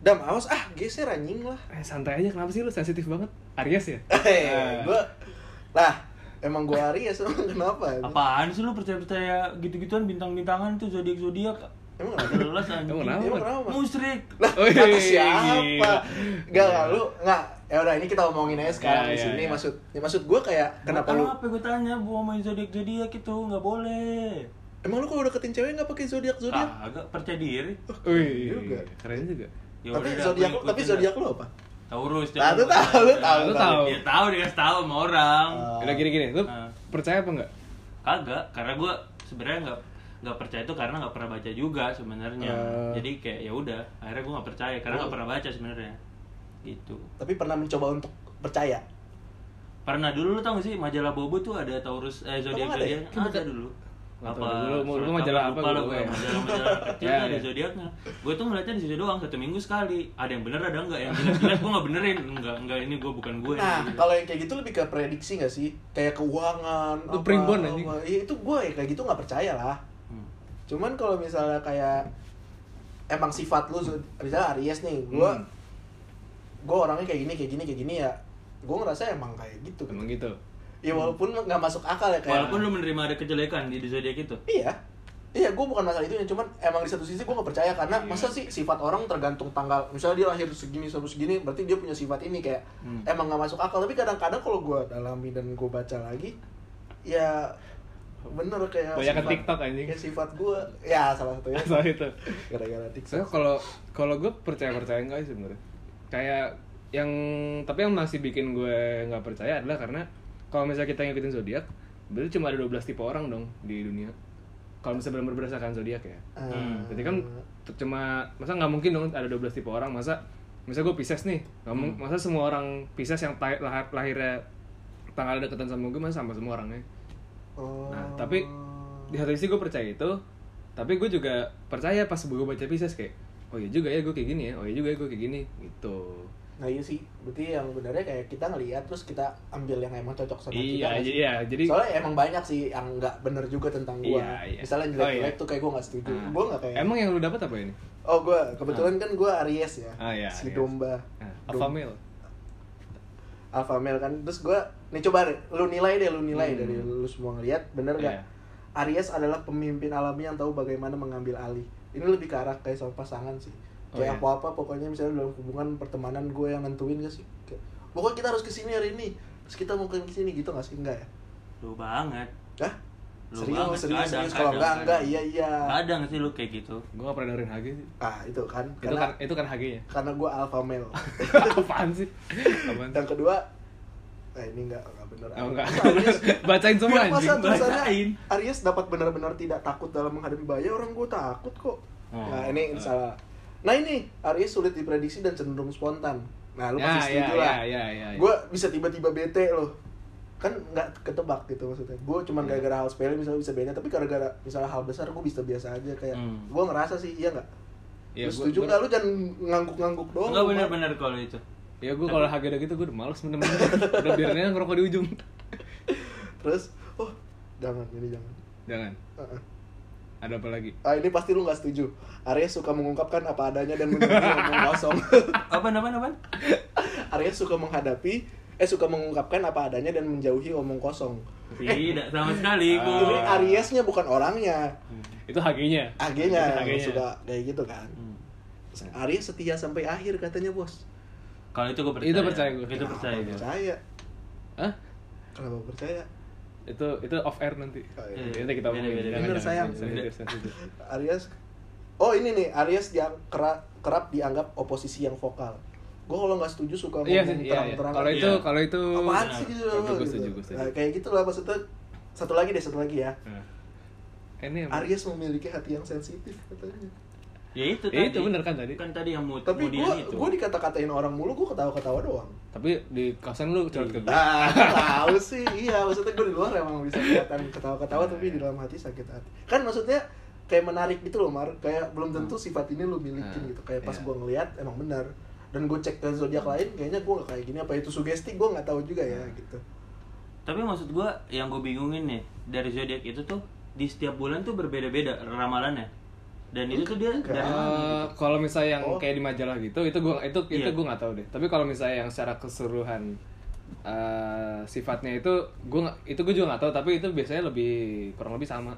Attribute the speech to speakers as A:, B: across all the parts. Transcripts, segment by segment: A: dam awas ah geser anjing lah
B: Eh, santai aja kenapa sih lu sensitif banget? Aries ya?
A: eh gue lah emang gue Aries emang kenapa
C: Apaan sih lu percaya-percaya gitu-gituan bintang-bintangan itu zodiak-zodiak?
A: emang
C: Gak
A: kenapa
C: Jelas anjing.
B: Emang kenapa?
A: Emang kenapa?
C: Musrik.
A: lah
B: Oh, iya,
A: kata
B: iya,
A: siapa
B: gila.
A: gak gak lu nggak ya udah ini kita omongin aja sekarang
C: Iya,
B: Ya,
A: di
B: ya,
A: sini
B: ya.
A: maksud ya, maksud gue kayak kenapa lu
C: Apa gue tanya bu main zodiak-zodiak itu nggak boleh.
A: emang lu kalau deketin cewek nggak pakai zodiak zodiak
C: Kagak percaya diri.
B: Wih,
A: juga.
B: keren juga.
C: Ya
A: tapi
C: udah dah,
A: zodiak
C: gua
A: tapi
C: ikutin
A: zodiak lu apa
C: dah. Taurus.
A: Nah,
C: jangan
A: lu
C: lupa.
A: tahu, lu
C: Ya,
A: tahu,
B: lu
A: lu
B: tahu.
C: Ya tahu dikasih tahu sama orang.
A: Ah.
B: Udah gini-gini, lu
C: Ah.
B: percaya apa enggak?
C: Kagak, karena gue sebenarnya nggak nggak percaya itu karena nggak pernah baca juga sebenarnya.
B: Ah.
C: Jadi kayak ya udah, akhirnya gue nggak percaya karena
A: Oh.
C: nggak pernah baca sebenarnya. Gitu.
A: tapi pernah mencoba untuk percaya
C: Pernah dulu lu tau gak sih majalah Bobo tuh ada Taurus eh zodiak
A: Emang ada ya?
C: zodiak ada, dulu.
B: Nggak tahu dulu, mau- lu majalah apa
C: Lupa lah
B: gitu
C: gue
B: ya?
C: majalah majalah kecil
B: Ya,
C: tuh ada
B: ya.
C: zodiaknya. Gue tuh ngeliatnya di situ doang satu minggu sekali. Ada yang bener ada enggak yang jelas-jelas gue nggak benerin. Enggak enggak ini gue bukan gue.
A: Nah, kalau yang kayak gitu lebih ke prediksi gak sih? Kayak keuangan,
B: Itu primbon, anjing.
A: apa. Iya, itu gue ya kayak gitu gak percaya lah.
C: Hmm.
A: Cuman kalau misalnya kayak emang sifat lu Zod- misalnya Aries nih, gue
B: Hmm.
A: gue orangnya kayak gini, kayak gini, kayak gini ya. Gue ngerasa emang kayak gitu.
B: Emang gitu.
A: Ya walaupun nggak masuk akal ya kayak.
C: Walaupun lu menerima ada kejelekan di di zodiak itu.
A: Iya. Iya, gue bukan masalah itu cuman emang di satu sisi gue gak percaya karena
B: Hmm.
A: masa sih sifat orang tergantung tanggal. Misalnya dia lahir segini sama segini, berarti dia punya sifat ini kayak
C: Hmm.
A: emang gak masuk akal. Tapi kadang-kadang kalau gue dalami dan gue baca lagi, ya bener kayak
B: Banyak ke
A: sifat-
B: TikTok, anjing.
A: kayak sifat gue, ya salah satunya
B: Soal itu.
A: gara-gara
B: Soalnya
A: TikTok.
B: kalau kalau gue percaya percaya enggak sih sebenarnya. Kayak yang tapi yang masih bikin gue nggak percaya adalah karena kalau misalnya kita ngikutin zodiak, berarti cuma ada 12 tipe orang dong di dunia. Kalau misalnya benar berdasarkan zodiak ya.
A: Hmm.
B: Berarti kan t- cuma masa nggak mungkin dong ada 12 tipe orang masa masa gue Pisces nih nggak mung- masa semua orang Pisces yang ta- lahir lahirnya tanggal deketan sama gue masa sama semua orangnya
A: Oh.
B: nah tapi di satu sisi gue percaya itu tapi gue juga percaya pas gue baca Pisces kayak oh iya juga ya gue kayak gini ya oh iya juga ya gue kayak gini gitu
A: Nah iya sih, berarti yang benernya kayak kita ngelihat terus kita ambil yang emang cocok sama kita.
B: iya
A: nggak
B: j-
A: sih?
B: iya jadi
A: kan? Soalnya emang banyak sih yang nggak bener juga tentang gua.
B: Iya, iya.
A: Misalnya yang jelek-jelek
B: Oh, iya.
A: tuh kayak gua nggak setuju.
B: Ah.
A: Gua nggak kayak.
B: emang yang lu dapat apa ini
A: Oh gua kebetulan kan gua Aries ya.
B: Ah, iya,
A: si
B: Aries.
A: domba.
B: nah,
A: Dom-
B: alpha male
A: Alpha male kan. Terus gua nih coba deh, lu nilai deh, lu nilai
B: Hmm.
A: dari lu semua ngeliat bener nggak?
B: Iya.
A: Aries adalah pemimpin alami yang tahu bagaimana mengambil alih. Ini lebih ke arah kayak sama pasangan sih.
B: Oh, iya.
A: Kayak apa-apa pokoknya misalnya dalam hubungan pertemanan gue yang nentuin gak sih? Kayak, pokoknya kita harus kesini hari ini. Terus kita mau ke sini gitu gak sih? Enggak ya?
C: Lu banget.
B: Nah.
A: Hah?
C: Lu
A: serius,
C: banget,
A: serius,
C: kadang,
A: serius. Kalau
C: kadang,
A: enggak, enggak,
C: kadang.
A: iya, iya.
C: Ada nggak sih lu kayak gitu?
B: gue gak pernah dengerin HG sih
A: Ah, itu kan.
B: itu kan
A: Karena,
B: itu kan HG nya
A: karena gue alpha male.
B: apaan sih apaan
A: Yang kedua, nah ini enggak, enggak bener.
B: Oh, enggak.
A: Aries,
B: Bacain semua
A: Masa
B: anjing.
A: tulisannya
C: bacain.
A: Aries dapat benar-benar tidak takut dalam menghadapi bahaya orang gue takut kok.
B: Oh.
A: Nah ini salah. Nah ini Aries sulit diprediksi dan cenderung spontan. Nah lu
B: Ya,
A: pasti
B: ya,
A: setuju
B: ya,
A: lah.
B: ya, ya, ya.
A: Gue bisa tiba-tiba bete loh. Kan nggak ketebak gitu maksudnya. Gue cuman
B: Hmm.
A: gara-gara hal sepele misalnya bisa bete, tapi gara-gara misalnya hal besar gue bisa biasa aja kayak.
C: Hmm.
A: Gue ngerasa sih iya nggak.
B: Ya,
A: lu
B: gua-
A: setuju
B: gua-
A: nggak lu jangan ngangguk-ngangguk doang.
C: Enggak
A: lu, Mat.
C: benar-benar kalau itu.
B: Ya gue kalau harga gitu gue udah males bener-bener Udah biarinnya ngerokok di ujung
A: Terus, oh jangan ini jangan.
B: Jangan
A: Uh-uh.
B: Ada apa lagi?
A: Ah ini pasti lu nggak setuju. Aries suka mengungkapkan apa adanya dan menjadi omong kosong.
C: Apa namanya apa?
A: Aries suka menghadapi eh suka mengungkapkan apa adanya dan menjauhi omong kosong.
C: Tidak sama sekali
B: Ah.
A: Jadi
C: gua.
A: Ariesnya bukan orangnya,
B: Itu HG-nya
A: AG-nya
B: Itu
A: yang
B: AG-nya.
A: suka kayak gitu kan.
C: Hmm.
A: Aries setia sampai akhir katanya bos.
C: Kalau itu gua percaya.
B: Itu percaya gua.
C: Itu percaya
A: Kenapa
C: gua.
A: Percaya.
B: Hah?
A: Kenapa percaya?
B: Itu itu off air nanti
A: Oh, iya.
C: Iya.
B: Nanti kita
C: Beda,
B: omongin
C: beda,
B: Jangan,
A: beda.
B: jangan,
A: Sayang.
B: sensitif, sensitif.
A: Aries Oh ini nih Aries dia kerap, kerap dianggap oposisi yang vokal. Gue kalau nggak setuju suka ngomong
B: Iya sih, iya, iya.
A: terang-terangan.
B: Kalau itu,
C: Iya.
B: kalau itu
A: apaan sih gitu
B: Kalau itu
A: loh,
B: gue
A: gitu.
B: setuju, gue setuju
A: Nah, kayak gitulah maksudnya satu lagi deh satu lagi ya
B: Nah. Ini apa?
A: Aries memiliki hati yang sensitif katanya
C: Ya itu
B: Ya, itu bener kan tadi?
C: Kan tadi yang mau
A: tapi
C: kemudian
A: gue
C: itu.
A: gue dikata-katain orang mulu gue ketawa-ketawa doang
B: Tapi di kosan lu curhat ke gue
A: ah tahu sih iya maksudnya gue di luar emang bisa kelihatan ketawa-ketawa tapi di dalam hati sakit hati kan maksudnya kayak menarik gitu loh Mar kayak belum tentu sifat ini lu milikin
B: Hmm.
A: gitu kayak pas
B: Iya.
A: gue ngeliat emang benar dan gue cek ke zodiak lain kayaknya gue gak kayak gini apa itu sugesti gue nggak tahu juga ya gitu
C: Tapi maksud gua yang gua bingungin nih dari zodiak itu tuh di setiap bulan tuh berbeda-beda ramalannya. dan itu tuh dia
B: Eh,
C: dari mana gitu?
B: kalau misalnya yang
A: Iya. Oh.
B: kayak di majalah gitu itu gua itu itu
C: Iya.
B: gua nggak tahu deh tapi kalau misalnya yang secara keseluruhan eh, sifatnya itu gua nggak- itu gua juga nggak tahu tapi itu biasanya lebih kurang lebih sama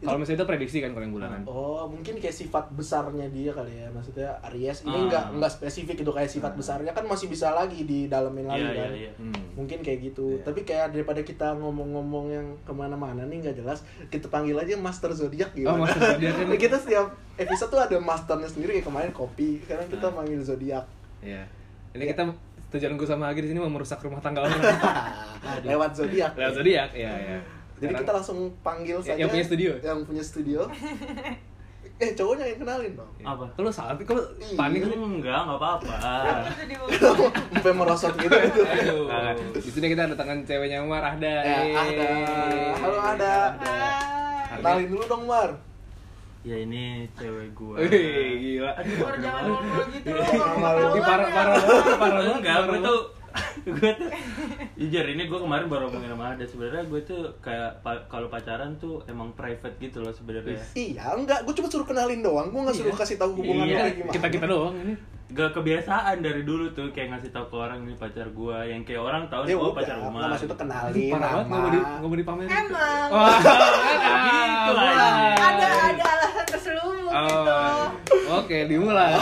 B: kalau misalnya itu prediksi kan kalau yang bulanan
A: Oh, mungkin kayak sifat besarnya dia kali ya. Maksudnya Aries ini
C: Ah.
A: nggak nggak spesifik itu kayak
B: Ah.
A: sifat besarnya kan masih bisa lagi didalamin lagi
C: Iya,
A: kan.
C: iya, iya.
B: Hmm.
A: Mungkin kayak gitu. Tapi kayak daripada kita ngomong-ngomong yang kemana-mana nih nggak jelas, kita panggil aja Master Zodiac gitu.
B: Oh, Master Zodiac kan.
A: kita setiap episode tuh ada masternya sendiri kayak kemarin kopi. Sekarang kita
C: Ah.
A: panggil Zodiac.
B: Iya. Ini kita tujuan gue sama Agi di sini mau merusak rumah tangga orang.
A: Lewat Zodiac.
B: Ah, Lewat zodiak, iya iya.
A: Jadi
B: Sekarang-
A: kita langsung panggil
B: Yang-
A: saja
B: yang punya studio.
A: Yang punya studio. eh, cowoknya yang kenalin dong.
B: Iya.
C: Apa?
B: Kalau salah, kalau
A: Iya.
B: panik sih.
C: enggak enggak apa-apa
D: Itu di
A: Sampai merosot gitu.
C: aduh
B: Nah, di sini kita kedatangan ceweknya Umar Ahda. Iya.
A: Ya, Ahda. Halo, Ahda. Kenalin dulu dong, Mar.
C: ya ini cewek gua
B: Wih, gila.
D: Baru jangan ngobrol gitu loh.
A: Malu.
D: ketahuan
B: Ini parah
D: ya.
B: parah banget, parah banget.
C: enggak
B: parah
C: gue
B: banget.
C: tuh gue tuh jujur ini gue kemarin baru ngomongin sama Ada sebenarnya gue tuh kayak pa- kalau pacaran tuh emang private gitu loh sebenarnya
A: Iya, enggak. Gue cuma suruh kenalin doang. Gue nggak suruh kasih tahu hubungan lu
C: Iya,
A: kayak gimana.
B: kita kita doang ini.
C: gak kebiasaan dari dulu tuh kayak ngasih tau ke orang ini pacar gue yang kayak orang tahu
A: Ya
C: nih, oh
A: udah,
C: pacar
A: nggak
C: Umar
A: maksud itu
B: Ini
A: kenalin
B: parah banget nggak mau di
A: nama.
B: nggak mau dipamerin.
D: Emang.
B: Wah,
C: Gitu lah.
B: mulai.
D: Ada ada alasan terselubung gitu.
B: Oh, oke dimulai.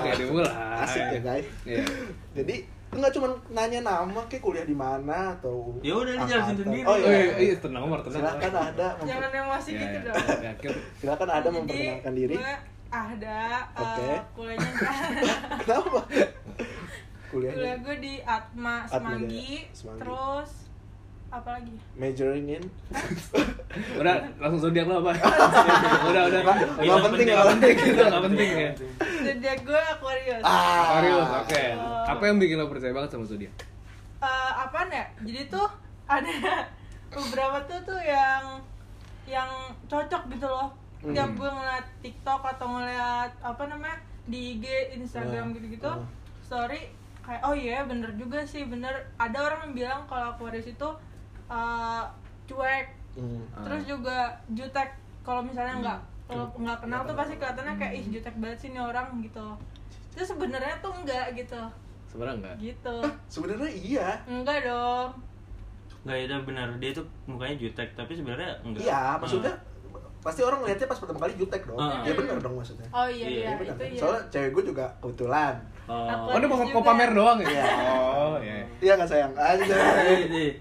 B: Oke dimulai.
A: Asik ya, guys.
B: Iya.
A: Jadi enggak cuma nanya nama kayak kuliah di mana atau
C: Ya udah, dia jelasin
A: angkatan.
C: sendiri.
A: Oh
B: Oh,
A: iya.
B: iya, iya, tenang Umar, tenang.
A: Silakan ada
D: Jangan emosi
B: Iya,
D: gitu
B: iya.
D: dong.
B: Ya, kita-
A: silakan ada memperkenalkan diri.
D: Jadi, gue Ahda, eh,
A: Oke.
D: kuliahnya
A: Kenapa?
D: kuliah
A: Kuliahnya
D: gue di Atma
A: Atma
D: Semanggi,
A: Jaya, Semanggi.
D: terus apa lagi?
A: majoring in
B: udah langsung zodiak lo apa udah udah
C: Iya,
A: Nggak- nggak penting, nggak penting.
B: itu nggak penting ya
D: Zodiak gue Aquarius.
A: Ah.
B: Aquarius oke
D: Oh.
B: apa yang bikin lo percaya banget sama zodiak
D: eh apaan ya jadi tuh ada beberapa tuh tuh yang yang cocok gitu loh
A: Hmm.
D: tiap gue ngeliat TikTok atau ngeliat apa namanya di IG
A: Ah,
D: Instagram gitu-gitu
A: ah.
D: story kayak oh iya bener juga sih bener ada orang yang bilang kalau Aquarius itu eh, cuek
A: Hmm.
B: Ah.
D: terus juga jutek kalau misalnya nggak kalau nggak kenal tuh pasti kelihatannya kayak ih jutek banget sih nih orang gitu terus sebenarnya tuh enggak gitu
B: sebenarnya enggak
D: gitu
A: Sebenarnya iya.
D: enggak dong
C: nggak itu benar dia tuh mukanya jutek tapi sebenarnya enggak Hmm.
A: Iya, maksudnya pasti orang lihatnya pas pertama kali jutek dong.
C: Ah.
A: Ya benar dong maksudnya.
D: Oh iya
A: Ya,
C: Iya,
D: iya, itu
A: benar kan?
D: iya.
A: Soalnya cewek gue juga kebetulan.
C: oh,
B: oh ini mau, mau
D: Juga.
B: pamer doang ya
A: Iya.
B: oh iya
A: Iya nggak sayang? Aja.
C: Iya, iya.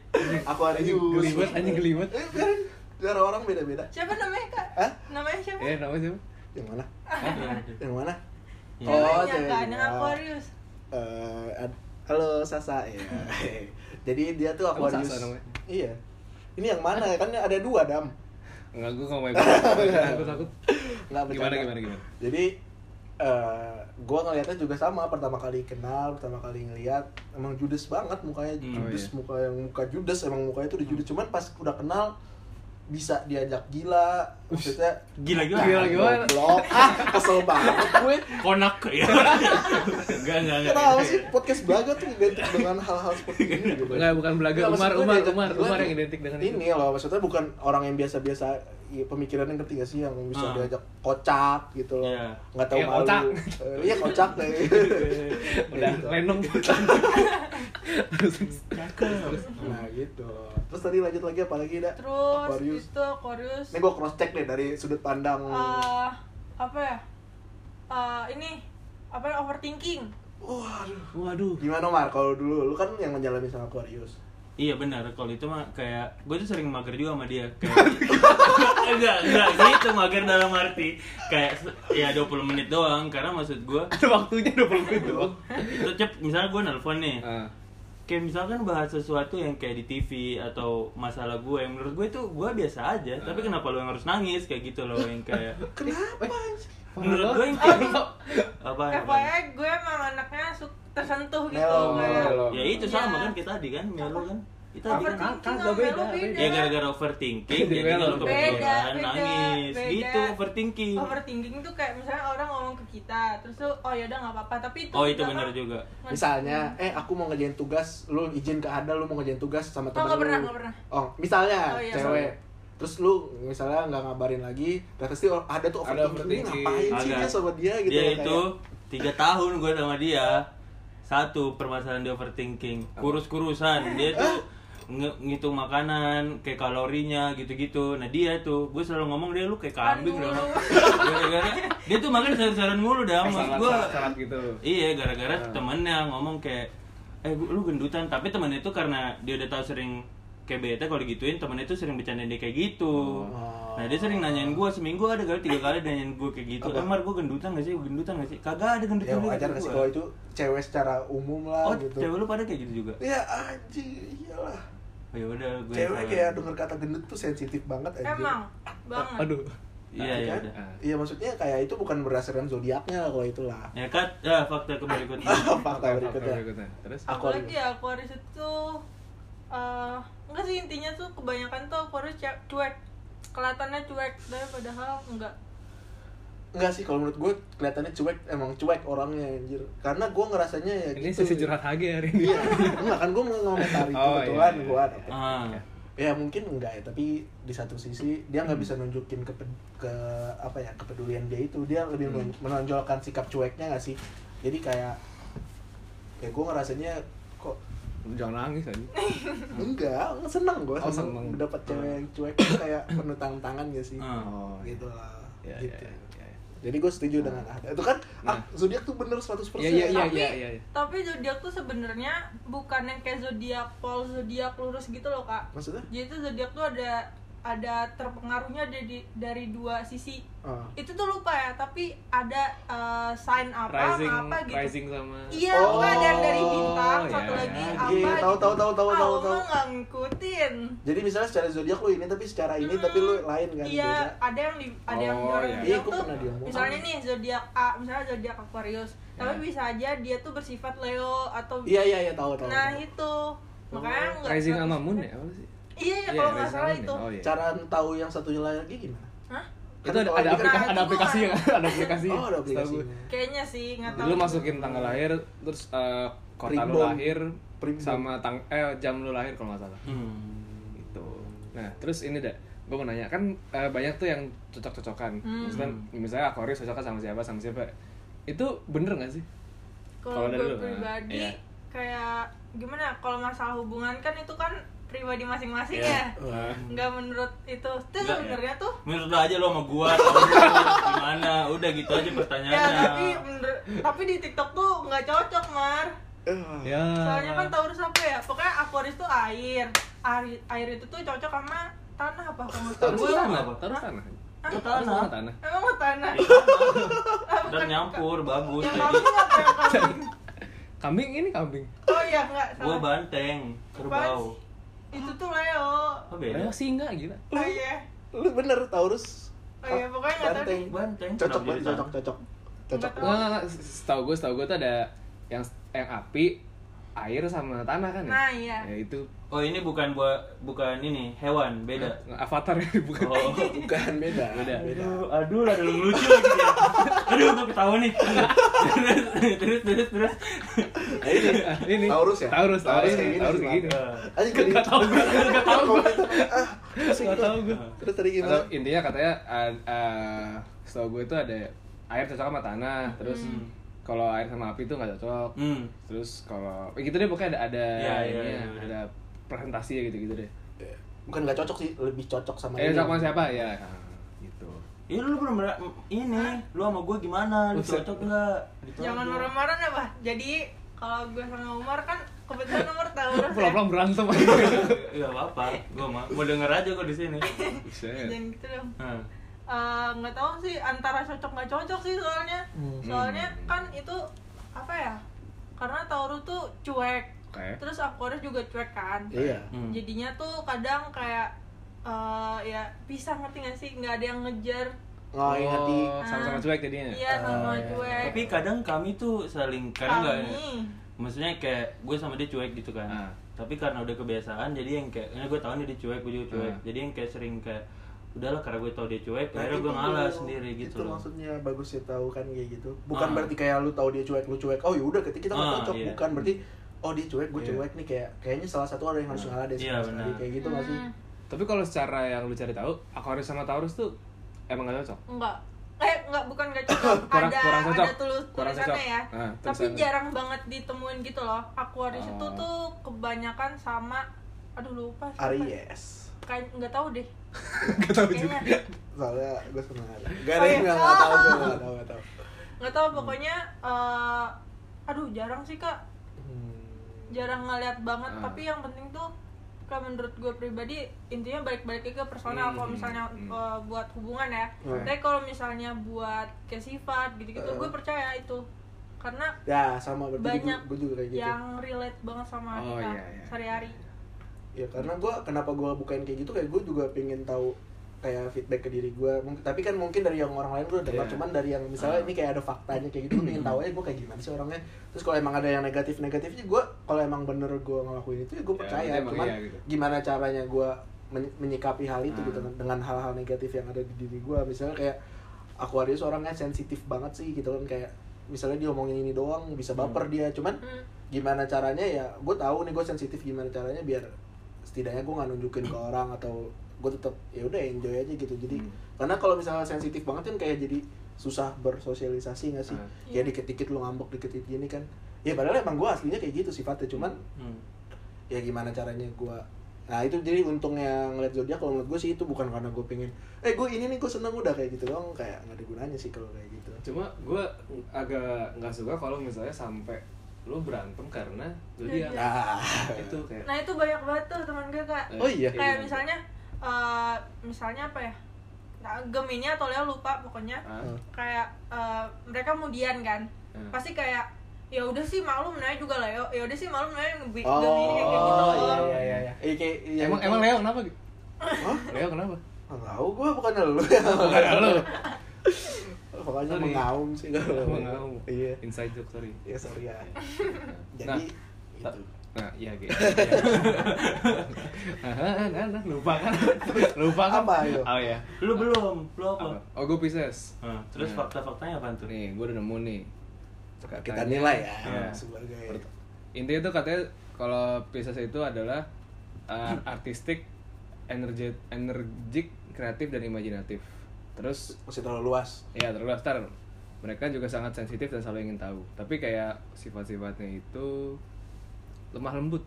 A: Aku ada
B: Anjing
A: Yus.
B: geliwet, anjing geliwet.
A: Eh, biarin. Biar orang beda-beda.
D: Siapa namanya kak?
A: Hah?
D: Namanya siapa?
B: eh namanya siapa
A: Yang mana?
C: Aduh.
A: Yang mana?
C: Iya.
A: Oh,
D: Ceweknya
A: cewek
D: kan, yang
A: gua.
D: Aquarius.
A: Eh, ad- halo Sasa ya. Jadi dia tuh
B: Emang
A: Aquarius.
B: Sasa namanya?
A: Iya. Ini yang mana ya? Kan ada dua, Dam.
B: enggak gue nggak mau ikut aku takut
A: Nggak Iya. Ah,
B: gimana
A: bercanda.
B: gimana gimana
A: jadi eh gue ngelihatnya juga sama pertama kali kenal pertama kali ngelihat emang judes banget mukanya
C: Hmm.
A: judes
B: Oh, iya. Hmm.
A: muka yang muka judes emang mukanya tuh di judes cuman pas udah kenal bisa diajak gila maksudnya
C: gila gila
B: Gila, gimana?
A: blok ah kesel banget gue
C: konak ya enggak enggak
B: Iya,
C: enggak
A: kenapa sih podcast belaga tuh identik dengan hal-hal seperti ini gitu
B: enggak bukan belaga
A: Nggak,
B: Umar
A: maksud gue
B: Umar
A: diajak
B: Umar
A: gila
B: Umar
A: nih.
B: yang identik dengan itu
A: ini loh maksudnya bukan orang yang biasa-biasa iya, pemikirannya ngerti gak sih yang bisa
C: Ah.
A: diajak kocak gitu loh
C: Iya.
A: nggak tahu
B: Iya,
A: malu
B: kocak.
A: Eh, iya kocak deh
B: udah
A: Gitu.
B: lenong
A: nah gitu terus tadi lanjut lagi apa lagi dah
D: Terus
A: Ah, Aquarius
D: itu Aquarius.
A: ini gue cross check deh dari sudut pandang
D: Eh, apa ya? Eh, ini apa ya, overthinking?
A: wah aduh.
B: waduh
A: gimana Mar kalau dulu lu kan yang menjalani sama Aquarius
C: Iya benar, kalau itu mah kayak gue tuh sering mager juga sama dia. Kayak gitu. enggak, enggak gitu mager dalam arti kayak se- ya 20 menit doang karena maksud gue
B: ada waktunya 20 menit doang
C: itu cep misalnya gue nelpon
A: Iya.
C: nih
B: Ah.
C: kayak misalkan bahas sesuatu yang kayak di TV atau masalah gue yang menurut gue itu gue biasa aja tapi kenapa lo yang harus nangis kayak gitu loh yang kayak
A: kenapa
C: menurut gue yang kayak gitu.
B: Oh,
C: apa
D: FYI gue emang anaknya su- tersentuh gitu
A: Melo,
D: kayak
B: melo.
C: ya itu sama
D: Iya.
C: kan kita tadi kan melo kan kita tadi kan
D: Overthinking
B: Kakak
D: sama
B: beda,
D: melo beda.
C: ya gara-gara overthinking
B: Jadi
C: jadi lo
B: melo.
D: Beda,
C: kepikiran
D: beda,
C: nangis
D: beda.
C: gitu overthinking
D: Overthinking tuh kayak misalnya orang ngomong ke kita, terus tuh oh yaudah nggak apa-apa, tapi itu
C: Oh itu
D: juga-
C: benar juga.
A: misalnya
D: Hmm.
A: eh aku mau ngerjain tugas lu izin ke Ada lu mau ngerjain tugas sama temen
D: Oh, nggak
A: lu
D: pernah, nggak pernah.
A: oh misalnya
D: Oh, iya,
A: cewek terus lu misalnya nggak ngabarin lagi dan pasti or- ada tuh
B: Ada
A: overthinking ini
B: overthinking.
A: ngapain sih
C: Ada.
A: dia sama dia gitu loh,
C: dia
A: kayak-
C: Ya, itu tiga tahun gue sama dia satu permasalahan dia overthinking kurus kurusan dia tuh nge- ngitung makanan kayak kalorinya gitu-gitu nah dia tuh gue selalu ngomong dia lu kayak
D: Apaan
C: kambing
D: mulu?
C: dong gara-gara dia tuh makan sayur-sayuran mulu dah Ya, maksud
B: salat
C: gue
B: salat gitu
C: iya gara-gara
A: Nah.
C: temennya ngomong kayak eh gua- lu gendutan tapi temennya itu karena dia udah tahu sering kayak bete kalau digituin temennya itu sering bercandain dia kayak gitu
A: Oh.
C: nah dia sering nanyain gue seminggu ada kali tiga kali dia nanyain gue kayak gitu
A: Apa?
C: Emar gue gendutan gak sih Gua gendutan gak sih kagak ada
A: ya
C: gendutan
A: wajar nggak sih kalau itu cewek secara umum lah
C: oh
A: gitu
C: cewek lu pada kayak gitu juga
A: ya anjing iyalah
C: oh, ya udah gue
A: cewek kayak denger kata gendut tuh sensitif banget anjing
D: Emang, banget.
B: aduh
C: iya
A: Iya
C: ya
A: kan?
C: udah
A: Iya maksudnya kayak itu bukan berdasarkan zodiaknya lah kalau itulah.
C: ya kat ya fakta keberikutnya
A: Fakta berikutnya.
B: terus
A: Aku-
D: Apalagi ya Aquarius itu eh enggak sih intinya tuh kebanyakan tuh Aquarius cek- cuek. Kelihatannya cuek, tapi padahal enggak.
A: Enggak sih kalau menurut gue kelihatannya cuek emang cuek orangnya anjir. Karena gue ngerasanya ya
B: ini
A: gitu.
B: sesi curhat Hage hari ini
A: Enggak kan gue mau ngomentari itu
B: Oh,
A: kebetulan
B: iya, iya,
A: gue.
B: iya.
C: ah
A: Ya mungkin enggak ya, tapi di satu sisi dia
B: Hmm.
A: nggak bisa nunjukin ke, ke apa ya kepedulian dia itu. Dia lebih
B: Hmm.
A: men- menonjolkan sikap cueknya nggak sih? Jadi kayak ya gue ngerasanya kok
B: jangan nangis aja
A: enggak seneng gue
B: Oh,
A: seneng,
B: seneng.
A: dapat cewek yang cuek tuh kayak penuh tantangan gak sih
C: Ah.
B: oh
A: gitu lah
B: ya ya
A: gitu.
B: ya ya.
A: jadi gue setuju dengan Ahda itu kan ah,
B: Nah.
A: zodiak tuh bener 100%
B: Iya, iya, iya,
D: tapi
B: iya, iya, iya.
D: tapi zodiak tuh sebenarnya bukan yang kayak zodiak pol zodiak lurus gitu loh kak
A: maksudnya
D: jadi tuh zodiak tuh ada ada terpengaruhnya dari dari dua sisi
A: Ah.
D: itu tuh lupa ya tapi ada eh, sign apa
B: rising
D: sama apa gitu
B: rising sama
D: Iya,
A: Oh,
D: oh, ada yang dari bintang,
B: iya,
D: satu
B: iya.
D: lagi
A: Iya,
D: apa
A: iya, tahu,
D: gitu.
A: tahu, tahu, tahu,
D: ah,
A: tahu,
D: lu mah
A: tahu.
D: nggak ngikutin.
A: jadi misalnya secara zodiak lu ini tapi secara ini tapi lu lain kan
D: Hmm. Iya,
A: beda.
D: ada yang di, ada yang
B: Oh,
D: orang
B: iya.
D: bilang
A: Iya, gua
D: tuh,
A: pernah diomongin.
D: misalnya nih zodiak A, misalnya zodiak Aquarius, tapi
B: Iya.
D: bisa aja dia tuh bersifat Leo atau
A: iya iya iya tahu tahu
D: nah
A: tahu.
D: itu makanya nggak
B: Oh, rising
D: nggak-
B: sama moon ya apa sih
D: Iya, iya, kalau nggak
B: rising
D: salah
B: sama
D: itu.
B: moon ya? oh, iya.
A: cara tahu yang satunya lagi gimana
D: Hah?
B: itu ada
A: Kalau
B: ada
A: ini kan-
B: aplikasi
D: Nah,
B: ada
D: itu
B: aplikasi
D: gua-
B: ada aplikasi
A: oh ada
B: setahu
A: aplikasinya
B: gua.
D: Kayaknya sih nggak tahu.
B: lu masukin tanggal lahir terus eh, kota lu
A: Primbon.
B: lahir
A: Primbon.
B: sama tang eh jam lu lahir kalau nggak salah
C: Hmm.
B: gitu nah terus ini dah gue mau nanya kan eh, banyak tuh yang cocok-cocokan
D: Hmm.
B: misalnya misalnya Aquarius cocokkan sama siapa sama siapa itu bener nggak sih
D: Kalau
B: Kalau dari
D: gue
B: lu,
D: pribadi
B: nah, iya.
D: kayak gimana? ya, Kalau masalah hubungan kan itu kan pribadi masing-masing
B: Iya.
D: ya. Nggak menurut itu. Itu
C: Nggak, ya.
D: sebenarnya tuh
C: Menurut lo aja lo sama gua, tau lu gimana? Udah gitu aja
D: ya
C: pertanyaannya.
D: tapi menurut- tapi di TikTok tuh nggak cocok mar.
A: Eh,
B: ya
D: Soalnya kan Taurus apa ya? Pokoknya Aquarius tuh air. Air, air itu tuh cocok sama tanah apa kamu tahu?
B: terus
C: Gua
B: tanah
C: apa?
B: terus tanah Terus
C: Terus tanah.
B: tanah tanah
D: Emang lu tanah? Ah, bukan-
C: Ntar nyampur, bagus.
D: Yang
C: Jadi,
D: kambing apa yang kambing?
B: kambing ini kambing
D: Oh iya nggak
C: gua
D: salah.
C: banteng, kerbau.
D: Itu tuh Leo.
C: Apa
B: Leo
D: Iya.
C: beda?
B: singa gila
D: Oh iya.
A: lu bener Taurus
D: Oh iya, pokoknya nggak tahu
A: Banteng.
C: Banteng.
A: cocok
C: Kenapa
A: banget
C: jadi
A: cocok
C: tanah?
A: cocok cocok
D: Nggak
B: nggak nggak, nggak. setahu gue setahu gue tuh ada yang yang api air sama tanah kan ya
D: Nah, iya.
B: ya itu
C: Oh ini bukan buat bukan ini hewan, beda.
B: avatar ya bukan
C: Oh.
A: bukan beda beda beda
C: Aduh, aduh lah, ada yang lucu lagi ya. Aduh, gua ketawa nih. Terus, terus, terus, terus.
A: Nah, ini
B: ini
A: Taurus ya?
B: Taurus Taurus
A: Taurus kayak gini
B: Taurus
A: sih,
B: kayak gini
C: Eh,
A: Aja jadi
B: Nggak tahu gue nggak tahu gue
A: ah pusing
B: nggak
A: gua.
B: tahu gue
A: terus tadi
B: Atau
A: gimana
B: intinya katanya uh, uh, setahu gue itu ada air cocok sama tanah
D: Hmm.
B: terus kalau air sama api itu nggak cocok
C: Hmm.
B: terus kalau eh, gitu deh pokoknya ada ada
C: Iya, iya,
B: ininya,
C: iya, iya.
B: ada presentasi ya gitu gitu deh
A: bukan nggak cocok sih lebih cocok sama ini.
B: eh cocok sama siapa ya nah, gitu
C: Iya lu belum mer- ini, lu sama gua gimana? Lu
B: Buset.
C: cocok enggak? Gitu
D: Jangan
C: aja.
D: marah-marah ya, Bah. Jadi kalau gue sama Umar kan kebetulan Umar Taurus ya.
B: pulang-pulang berantem
C: Enggak Iya, apa-apa, gua mah mau denger aja kok di sini.
B: Buset.
D: Jangan gitu dong.
C: Hah.
D: Eh, nggak tahu sih antara cocok nggak cocok sih soalnya.
A: Hmm.
D: Soalnya kan itu apa ya? Karena Taurus tuh cuek.
B: Oke.
D: Terus Aquarius juga cuek kan.
A: iya
C: Hmm.
D: Jadinya tuh kadang kayak eh, ya pisah ngerti gak sih? Nggak ada yang ngejar.
A: oh, hati
B: Oh, sama-sama cuek jadinya
D: Iya sama
A: Eh,
D: cuek.
C: Tapi kadang kami tuh saling
B: ya?
C: kadang nggak ya? maksudnya kayak gue sama dia cuek gitu kan.
B: Ah.
C: Tapi karena udah kebiasaan jadi yang kayak ini gue tahu nih dia cuek, gue juga cuek.
B: Ah.
C: Jadi yang kayak sering kayak udahlah karena gue tau dia cuek,
A: Nah,
C: akhirnya
A: itu
C: gue ngalah
A: tuh,
C: sendiri gitu
A: itu
C: loh.
A: maksudnya bagusnya tahu kan kayak gitu bukan
C: Ah.
A: berarti kayak lu tahu dia cuek lu cuek oh yaudah ketika kita nggak
C: Ah,
A: cocok
C: iya.
A: bukan berarti oh dia cuek gue
B: Iya.
A: cuek nih kayak kayaknya salah satu orang yang harus ngalah deh
C: Iya,
A: sama sekali.
C: benar.
A: kayak gitu nggak sih
D: Hmm.
B: Tapi kalau secara yang lu cari tahu, Aquarius sama Taurus tuh emang gak cocok.
D: Enggak. Eh, enggak bukan gak cocok.
B: Kurang-
D: ada
B: kurang cocok.
D: ada tulus
B: Kurang
D: tulisannya
B: cocok.
D: ya.
B: Ah,
D: Tapi
B: tulisannya.
D: jarang banget ditemuin gitu loh. Aquarius itu
B: Oh.
D: tuh kebanyakan sama aduh lupa siapa.
A: Aries
D: Kayak nggak tahu deh.
B: Gak tahu Oh, juga.
D: Kayaknya
A: soalnya gue seneng Aries gak
D: Oh,
A: ada yang
D: iya.
A: nggak tahu gue nggak tahu nggak tahu
D: nggak tahu pokoknya eh aduh jarang sih Kak. Jarang ngeliat banget,
B: Hmm. Ah.
D: tapi yang penting tuh kalau menurut gue pribadi intinya balik-balik ke personal
B: Hmm,
D: kalau misalnya
B: hmm.
D: eh, buat hubungan ya.
A: Hmm.
D: Tapi kalau misalnya buat ke sifat gitu-gitu
A: Eh.
D: gue percaya itu. Karena
A: ya sama berarti
D: Banyak
A: gue juga kayak gitu
D: yang relate banget sama
B: Oh,
D: kita
B: iya, iya.
D: sehari-hari.
A: ya karena gue kenapa gue bukain kayak gitu kayak gue juga pengen tahu kayak feedback ke diri gue tapi kan mungkin dari yang orang lain gue dengar
B: Iya.
A: cuman dari yang misalnya
B: Ah.
A: ini kayak ada faktanya kayak gitu gue pengen tahu aja gue kayak gimana sih orangnya terus kalau emang ada yang negatif negatifnya gue kalau emang bener gue ngelakuin itu ya gue
B: Ya,
A: percaya
B: berarti emang
A: cuman
B: iya gitu.
A: gimana caranya gue men- menyikapi hal itu
B: Ah.
A: gitu kan, dengan hal-hal negatif yang ada di diri gue misalnya kayak Aquarius orangnya sensitif banget sih gitu kan kayak misalnya dia ngomongin ini doang bisa baper dia cuman
D: Hmm.
A: gimana caranya ya gue tahu nih gue sensitif gimana caranya biar setidaknya gue nggak nunjukin ke orang atau gue tetap ya udah enjoy aja gitu jadi
B: Hmm.
A: karena kalau misalnya sensitif banget kan kayak jadi susah bersosialisasi nggak sih
B: Ah.
A: kayak
D: Iya.
A: dikit-dikit lo ngambek dikit-dikit gini kan ya padahal emang gue aslinya kayak gitu sifatnya cuman
C: Hmm.
A: ya gimana caranya gue nah itu jadi untungnya ngeliat zodiak kalau menurut gue sih itu bukan karena gue pengen eh gue ini nih gue seneng udah kayak gitu doang kayak nggak ada gunanya sih kalau kayak gitu
B: Cuma gue agak nggak suka kalau misalnya sampai lu berantem karena zodiak
D: Iya.
A: ah
B: itu kayak
D: Nah itu banyak banget tuh teman gue kak.
B: eh,
A: Oh, iya.
B: kayak
D: Kayak
B: gitu.
D: misalnya, eh, misalnya apa ya? Nah, Gemini atau Leo lupa pokoknya.
B: Ah,
A: Hmm.
D: Kayak eh, mereka mudian kan.
B: Hmm.
D: Pasti kayak ya udah sih malu namanya juga Leo. Ya udah sih malu namanya Gemini
A: oh
D: kayak gitu.
A: iya iya iya iya Eh, kayak- iya.
B: emang emang Leo kenapa? Gi?
A: Hah?
B: Leo kenapa?
A: Nggak tahu gue bukan lu ya.
B: Bukan lu.
A: Pokoknya
B: Sorry.
A: mengaum sih kalau.
B: Mengaum.
A: Iya.
B: Inside joke sorry.
A: Ya sorry ya.
B: Nah,
A: Jadi
B: ta-
A: gitu.
B: Nah, iya gitu. nah, nah, nah, lupa kan? Lupa kan?
A: Apa itu?
B: Oh ya.
C: Lu belum, lu apa?
B: Apa? Oh, gue Pisces.
C: Nah, terus
B: Hmm.
C: fakta-faktanya apa tuh?
B: Nih, gue udah nemu nih.
A: Kita nilai ya
C: Iya.
A: sebagai
B: Pert- Intinya tuh katanya kalau Pisces itu adalah uh, artistik, energet, energik, kreatif dan imajinatif. Terus
A: masih terlalu luas.
B: ya terluas ntar mereka juga sangat sensitif dan selalu ingin tahu. Tapi kayak sifat-sifatnya itu lemah lembut.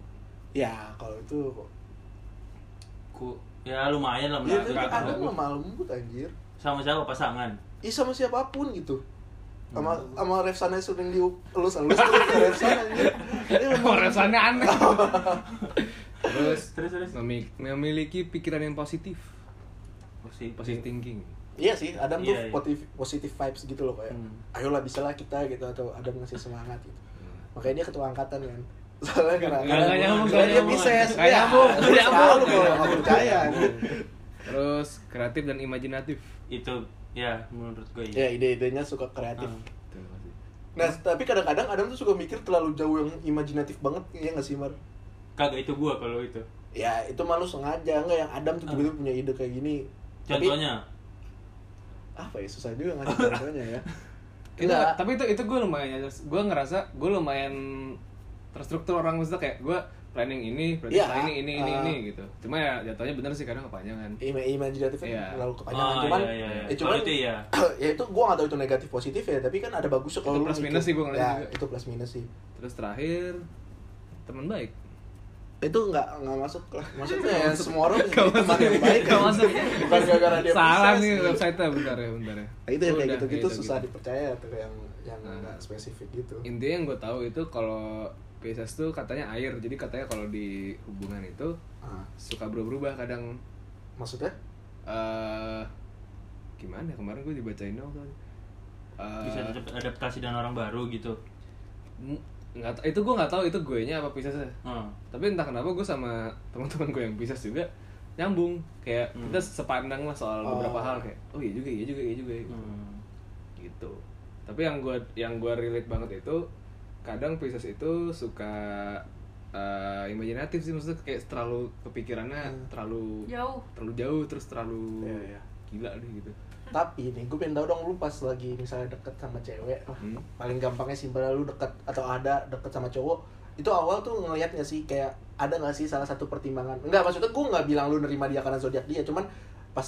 A: Ya, kalau itu
B: Ku
C: Ya lumayan
A: Iya,
C: lah menurut
A: tapi
B: nggak
A: aku
B: tahu.
C: gua.
A: lemah lembut anjir.
C: Sama siapa pasangan?
A: Ih sama siapapun gitu. Sama
B: Iya.
A: sama Refsana sering dielus-elus ke Refsana anjir. Dia lemah lembut.
B: Rasanya aneh. terus,
C: Terus, terus.
B: memi- memiliki pikiran yang positif,
C: Positif.
B: positive thinking.
A: Iya sih, Adam tuh
C: Iya, iya.
A: positif positive vibes gitu loh kayak.
C: Hmm.
A: Ayolah bisalah kita gitu atau Adam ngasih semangat gitu. Makanya dia ketua angkatan kan. Soalnya karena
B: Nggak, nggak nyambung,
A: karena
B: nggak
A: dia
B: nyambung.
A: Pisces.
B: Nggak
A: Ya,
B: nyambung, nggak
A: terus
B: nyambung. Iya.
A: selalu kalau nggak percaya. gitu.
B: Terus kreatif dan imajinatif.
C: Itu ya menurut gue
A: Ya
C: iya.
A: ide-idenya suka kreatif.
C: Hmm.
B: Terima kasih.
A: Nah, tapi kadang-kadang Adam tuh suka mikir terlalu jauh yang imajinatif banget, ya nggak sih, Mar?
C: Kagak itu gua kalau itu.
A: Ya, itu malu sengaja nggak yang Adam tuh
B: Ah.
A: tiba-tiba punya ide kayak gini. Tapi,
C: Contohnya,
A: apa ya susah juga ngasih contohnya ya.
B: Itu,
A: Nggak.
B: tapi itu itu gue lumayan gue ngerasa gue lumayan terstruktur orang maksudnya kayak gue planning ini, planning
A: Iya,
B: ini, ini, ini,
A: ah.
B: ini gitu. Cuma ya jatuhnya bener sih kadang kepanjangan.
A: Ima- imajinatif kan
B: Iya.
A: terlalu kepanjangan
C: Oh,
A: cuman
C: iya, iya, iya.
A: ya cuman
C: Kalau itu iya.
A: ya itu gua nggak tahu itu negatif positif ya tapi kan ada bagusnya kalau
B: Itu
A: lu
B: plus
A: mikir.
B: minus sih gua ngeliat
A: ya,
B: juga.
A: itu plus minus sih
B: Terus terakhir teman baik.
A: itu nggak nggak masuk lah maksudnya ya semua orang
B: Nggak
A: punya teman
B: masuk.
A: yang baik
B: Nggak
A: kan.
B: masuk.
A: bukan gara-gara dia
B: Salah
A: Pisces,
B: nih
A: gitu.
B: website-nya bentar ya, bentar ya.
A: Nah, itu yang kayak
B: Udah,
A: gitu-gitu
B: ya,
A: susah
B: gitu.
A: dipercaya tuh yang yang
B: Nah.
A: nggak spesifik gitu
B: intinya yang gue tahu itu kalau Pisces tuh katanya air jadi katanya kalau di hubungan itu
A: Ah,
B: suka berubah-berubah kadang
A: maksudnya
B: eh gimana kemarin gue dibacain dong kan Eh,
C: bisa tetap adaptasi dengan orang baru gitu.
B: m- nggak ta- itu gue nggak tahu itu gue nya apa Pisces
C: Hmm.
B: tapi entah kenapa gue sama teman-teman gue yang Pisces juga nyambung kayak
C: Hmm.
B: kita sepandang lah soal
A: Oh.
B: beberapa hal kayak oh iya juga iya juga iya juga gitu.
C: Hmm.
B: gitu tapi yang gue yang gua relate banget itu kadang Pisces itu suka eh, imajinatif sih maksudnya kayak terlalu kepikirannya
A: Hmm.
B: terlalu
D: Jauh.
B: terlalu jauh terus terlalu
A: Iya, iya.
B: gila deh gitu
A: tapi nih gue pengen tau dong lu pas lagi misalnya deket sama cewek
B: Hmm.
A: paling gampangnya simpel lu deket atau ada deket sama cowok itu awal tuh ngelihat nggak sih kayak ada nggak sih salah satu pertimbangan nggak maksudnya gue nggak bilang lu nerima dia karena zodiak dia cuman pas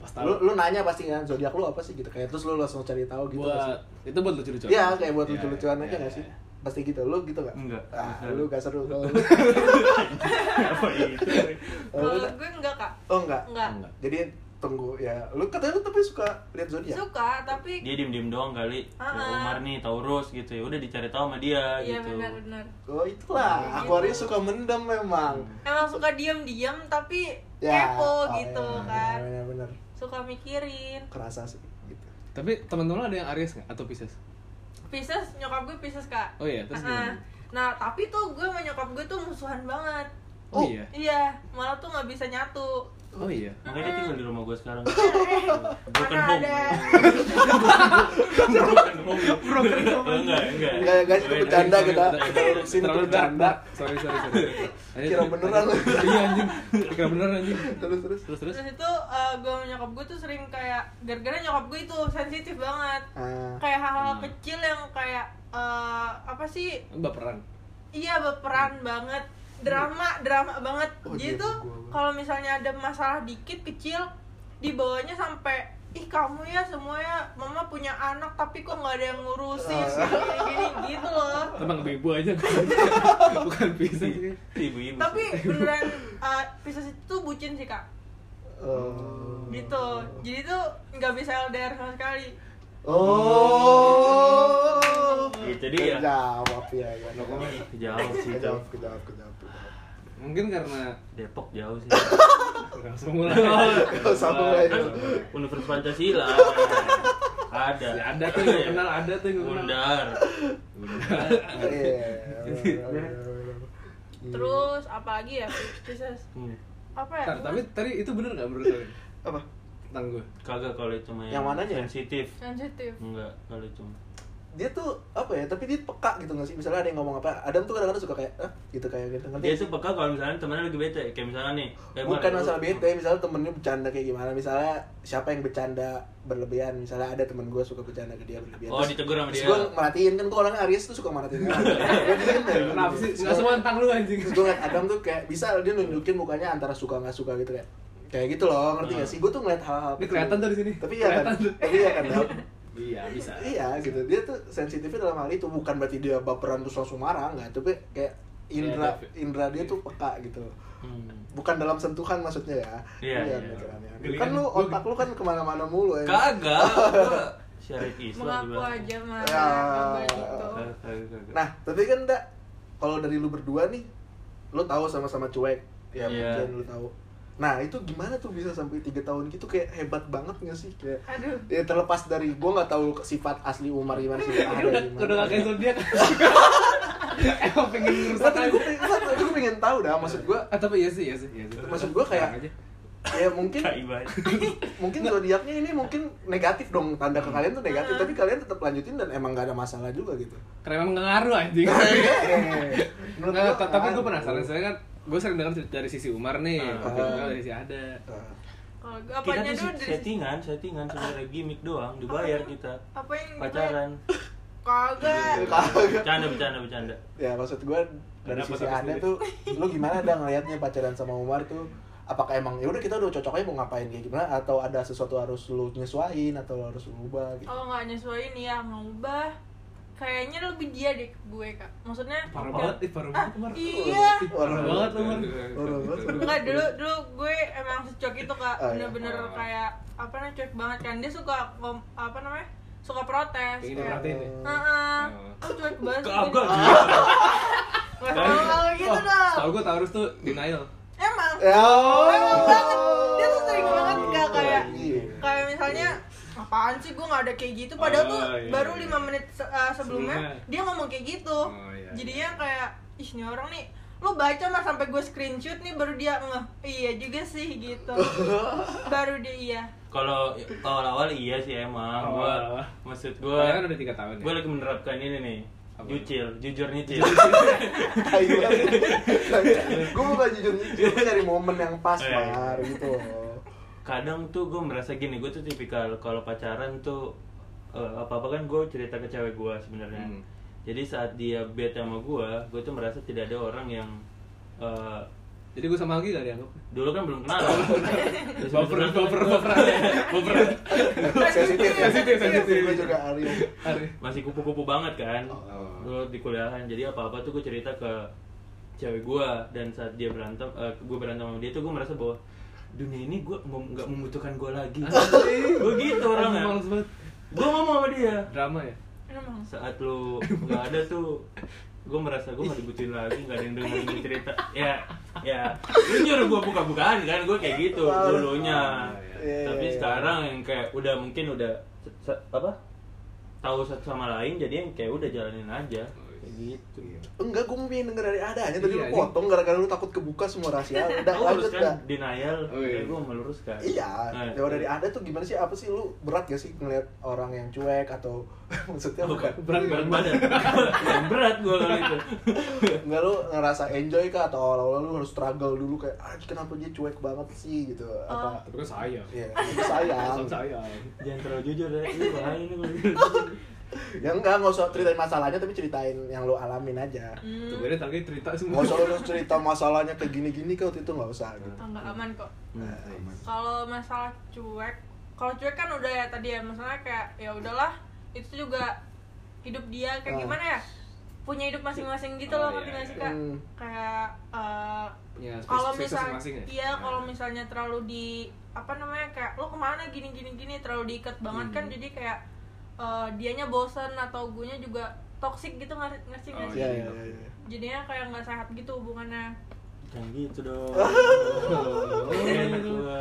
B: Pas
A: lu
B: tahu.
A: lu nanya pasti kan zodiak lu apa sih gitu kayak terus lu langsung cari tahu gitu nggak sih?
B: buat itu buat lucu-lucuan.
A: Iya, kayak buat
B: Iya,
A: lucu-lucuan
B: iya,
A: aja
B: iya,
A: nggak sih?
B: iya.
A: Pasti gitu, lu gitu nggak?
C: Nggak,
A: Ah,
C: nggak
A: lu gak seru kalau
C: apa itu
A: kalau
D: Kalau
A: lu-
D: gue enggak kak,
A: Oh enggak?
D: enggak.
B: Enggak.
A: Jadi tunggu ya, lu katanya lu tapi suka lihat zodiak.
D: Suka tapi
C: dia diem diem doang kali
D: Ah,
C: Ya,
D: ah.
C: Umar nih Taurus gitu ya udah dicari tahu sama dia
D: iya
C: gitu
D: benar-benar.
A: Oh itulah,
D: Iya.
A: Aquarius suka mendem memang.
D: Emang suka diam-diam tapi
A: oh,
D: kepo gitu
A: iya,
D: kan.
A: Bener bener
D: Suka mikirin.
A: kerasa sih gitu.
B: Tapi teman-teman lo ada yang Aries nggak atau Pisces?
D: Pisces nyokap gue Pisces kak.
B: Oh iya, terus
D: Ah, ah.
B: gimana?
D: Nah tapi tuh gue sama nyokap gue tuh musuhan banget.
A: Oh.
B: Oh, iya.
D: Iya, malah tuh nggak bisa nyatu.
B: Oh iya.
C: makanya dia tinggal di rumah gue sekarang broken
D: Karena
C: home
D: ada
C: broken home enggak enggak
A: Enggak ya guys, itu
C: Sorry,
A: bercanda
C: sorry,
A: kita.
C: sorry,
A: Kita
C: sorry.
A: urusin itu
B: Terlalu dark,
A: bercanda.
B: Pak. Sorry, sorry, sorry. Lanjut,
A: Kira
B: lanjut,
A: beneran
B: lanjut.
A: lu.
B: Iya anjing. Kira beneran anjing.
A: Terus terus.
B: Terus terus.
D: terus itu eh, gue sama nyokap gue tuh sering kayak gara-gara nyokap gue itu sensitif banget.
A: Ah,
D: Kayak hal-hal
C: Hmm.
D: kecil yang kayak eh, apa sih?
B: Baperan.
D: Iya berperan banget. Drama, drama banget.
A: Oh,
D: Jadi
A: dia
D: tuh
A: gua-
D: kalau misalnya ada masalah dikit kecil dibawanya sampai ih kamu ya semuanya mama punya anak tapi kok nggak ada yang ngurusin gini gitu loh
B: Emang bebo aja Bukan Pisces.
C: ibu-ibu
D: tapi beneran uh, Pisces itu bucin sih kak
A: oh.
D: gitu jadi tuh nggak bisa LDR sama sekali
A: Oh.
C: Gitu dia.
A: Kejawab ya. ya.
C: jauh sih
A: Kejawab, kejawab, kejawab. kejawab.
B: Mungkin karena
C: Depok jauh sih
B: langsung mulai.
A: Nggak usah mulai.
C: Kan Universitas Pancasila ada Iya.
B: Ya, ada tuh yang gua kenal, ada tuh yang gua kenal.
C: Undar
A: Iya. bener, bener, bener.
B: Hmm.
D: terus apalagi ya Pisces
C: Hmm.
D: apa ya
B: Bentar, tapi tadi itu bener nggak menurut kalian
A: apa?
B: tentang gue?
C: kagak kalau itu mah
A: Yang mananya?
C: sensitif
D: sensitif
B: Hmm,
C: enggak kalau itu mah.
A: dia tuh apa ya tapi dia peka gitu nggak sih misalnya ada yang ngomong apa Adam tuh kadang-kadang suka kayak eh gitu kayak gitu ngerti
C: dia
A: nggak sih?
C: tuh peka kalau misalnya temennya lagi bete kayak misalnya nih eh, Mar,
A: bukan
C: lu-
A: masalah bete misalnya temennya bercanda kayak gimana misalnya siapa yang bercanda berlebihan misalnya ada temen gue suka bercanda ke dia berlebihan
C: Oh, ditegur sama dia.
A: gue merhatiin kan gue orangnya Aries tuh suka merhatiin orang. Gua diem deh, gua
B: Kenapa sih?
A: diem.
B: Nggak semua tentang lu anjing.
A: Terus gue ngeliat Adam tuh kayak bisa dia nunjukin mukanya antara suka nggak suka gitu kayak kayak gitu loh ngerti
B: Ah.
A: nggak sih gue tuh ngeliat hal-hal
B: Ini kelihatan tuh di sini.
A: tapi ya kan
B: Kelihatan tuh.
A: tapi ya kan Dam.
B: Iya bisa.
A: iya gitu dia tuh sensitifnya dalam hal itu bukan berarti dia baperan terus langsung marah nggak tapi kayak indra
B: Iya, tapi-
A: indra dia tuh peka gitu
C: Hmm.
A: bukan dalam sentuhan maksudnya ya
C: Iya, iya.
A: pikirannya.
B: Geli
A: kan
B: kan?
A: lu otak lu kan kemana-mana mulu ya
C: kagak gua syarif Islam
D: mengaku
C: dibilang.
D: aja mah
A: Ya.
D: nggak boleh gitu
B: Eh.
C: Kagak, kagak.
A: nah tapi kan enggak kalau dari lu berdua nih lu tahu sama-sama cuek ya
C: Iya.
A: mungkin lu tahu nah itu gimana tuh bisa sampai tiga tahun gitu kayak hebat banget nggak sih kayak
D: aduh
A: ya terlepas dari gua nggak tahu sifat asli Umar gimana sih ada
B: kan Udah
A: gimana.
B: udah nggak kayak zodiak. Emang pengen ngerusak
A: Tapi
B: aja.
A: gue pengen, gue pengen tahu dah maksud gue
B: Ah, tapi iya sih, iya sih, iya sih.
A: Maksud gua kayak-
B: Tenang aja.
A: ya mungkin
C: Tai banget.
A: mungkin zodiaknya ini mungkin negatif dong tanda ke kalian tuh negatif tapi kalian tetap lanjutin dan emang gak ada masalah juga gitu
B: karena emang nggak ngaruh anjing.
A: Menurut
B: Nggak,
A: gua
B: ta- tapi
A: ngaruh.
B: gue penasaran, soalnya kan gue sering dengar cerita dari sisi Umar nih,
C: Ah.
B: tapi juga dari sisi ada.
A: Eh,
D: kalau gue
C: kita
D: apanya
C: tuh
D: dulu dari sisi-
C: settingan settingan sebenarnya gimmick doang dibayar
D: Apanya?
C: kita
D: apa yang dibayar?
C: pacaran
D: kagak
A: Iya,
C: bercanda bercanda bercanda
A: ya maksud gue dari
B: Kenapa
A: sisi
B: tapi
A: ada
B: sendiri?
A: tuh lu gimana dah ngelihatnya pacaran sama Umar tuh apakah emang ya udah kita udah cocoknya mau ngapain kayak gimana atau ada sesuatu harus lu nyesuain atau lu harus lu ubah gitu
D: kalau nggak nyesuaiin ya ngubah kayaknya lebih dia deh ke gue kak maksudnya
B: Parah
C: Apa?
B: banget, ih parah banget Umar.
D: iya
A: Ih,
B: Parah banget Umar.
A: Parah banget.
D: Enggak dulu dulu gue emang secok itu kak
A: Oh, iya.
D: bener-bener
B: Oh.
D: kayak apa namanya cuek banget kan dia suka ngom- apa namanya suka protes
B: Pengen
D: kayak,
B: diperhatiin ya.
D: Heeh.
B: Oh.
D: Lu cuek banget sih,
C: kagak
D: jadi-
C: gila.
D: Nggak tahu
B: Nah, Oh,
D: kalau gitu dong
B: Tahu gue Taurus tuh denial.
D: emang
A: ya
D: emang banget dia tuh sering banget gak kayak
A: Iya.
D: kayak misalnya apaan sih gue nggak ada kayak gitu padahal
B: Oh,
D: tuh
B: iya,
D: baru
B: iya.
D: lima menit se- uh, sebelumnya,
B: Sebelumnya.
D: dia ngomong kayak gitu
B: Oh, iya,
D: jadinya kayak ih ini orang nih lo baca mas sampai gue screenshot nih baru dia ngeh iya juga sih gitu baru dia iya
C: kalau awal-awal iya sih emang
B: Awal-awal.
C: gua maksud
B: Padahal kan
C: gua
B: udah 3 tahun ya.
C: gua lagi menerapkan ini nih
B: Apa?
C: Jucil, jujur nyicil
A: gue bukan jujur jujur gue nyari momen yang
B: Oh,
A: pas
C: Iya, iya.
A: Mar gitu loh
C: Kadang tuh gue merasa gini, gue tuh tipikal kalau pacaran tuh eh, apa-apa kan gue cerita ke cewek gue sebenarnya
B: Hmm.
C: jadi saat dia bete sama gue gue tuh merasa tidak ada orang yang eh,
B: Jadi gue sama Anggi gak dianggap?
C: dulu kan belum kenal Terus
B: Baperan,
C: beneran-
B: baperan, baperan Baperan
A: sensitif ya?
B: Sensitif, sensitif.
A: Gue juga Arya.
B: Hari
C: masih kupu-kupu banget kan
A: Oh.
C: dulu di kuliahan jadi apa apa tuh gue cerita ke cewek gue dan saat dia berantem gue berantem sama dia tuh gue merasa bahwa dunia ini gue nggak membutuhkan gue lagi gue
B: Anjing,
C: gitu orangnya
B: males banget
C: gue ngomong sama dia
B: Drama ya?
D: Emang.
C: saat lu nggak ada tuh gue merasa gue gak dibutuhin lagi gak ada yang dengerin gue cerita ya ya lu nyuruh gue buka-bukaan kan gue kayak gitu dulunya
B: Oh,
A: iya.
C: tapi
A: Iya, iya.
C: sekarang yang kayak udah mungkin udah se- se- apa tahu satu sama lain jadi yang kayak udah jalanin aja kayak gitu
A: Enggak, gue mau pengen denger dari adanya. Tadi
B: Iya,
A: lu
B: ini-
A: potong gara-gara lu takut kebuka semua rahasia. lu. Udah
C: Aku
A: lanjut
C: meluruskan
A: dah.
C: kan, denial,
B: Oh, iya.
C: kayak gue meluruskan.
A: Iya,
C: Nah,
A: jauh dari ada tuh gimana sih? Apa sih lu berat gak sih ngeliat orang yang cuek atau maksudnya bukan?
B: Berat
C: Oh, berat
A: Iya.
B: banget
C: badan. berat gue kalau itu.
A: Enggak lu ngerasa enjoy kah atau awal-awal lu harus struggle dulu kayak ah kenapa dia cuek banget sih gitu apa?
B: Tapi kan saya
A: Ya, itu sayang.
B: sayang
C: Jangan terlalu jujur deh, ini bahaya ini kalau gitu.
A: Ya enggak, nggak usah ceritain masalahnya tapi ceritain yang lu alamin aja.
B: Tuh
D: Hmm,
B: gue tadi cerita
A: Nggak
B: semua
A: usah lu cerita masalahnya kayak gini-gini kau itu nggak usah gitu.
D: enggak aman kok.
C: Hmm,
A: Nah,
D: Kalau masalah cuek, kalau cuek kan udah ya tadi ya masalah kayak ya udahlah itu juga hidup
A: Ah.
D: dia kayak gimana ya punya hidup masing-masing gitu
B: Oh,
D: loh
B: iya,
D: ngerti nggak sih
A: iya.
D: kak
A: Hmm.
D: kayak eh,
B: Punya space-
D: kalau
B: space
D: misal
B: masing-masing ya?
D: iya kalau
B: Ah.
D: misalnya terlalu di apa namanya kayak lo kemana gini gini gini terlalu diikat banget kan
B: Hmm.
D: jadi kayak eh, dianya bosen atau guanya juga toksik gitu ngerti nggak sih nggak
B: Oh,
D: sih?
A: Ya, ya, ya, ya.
D: jadinya kayak nggak sehat gitu hubungannya
C: Jangan gitu dong. Enak gua.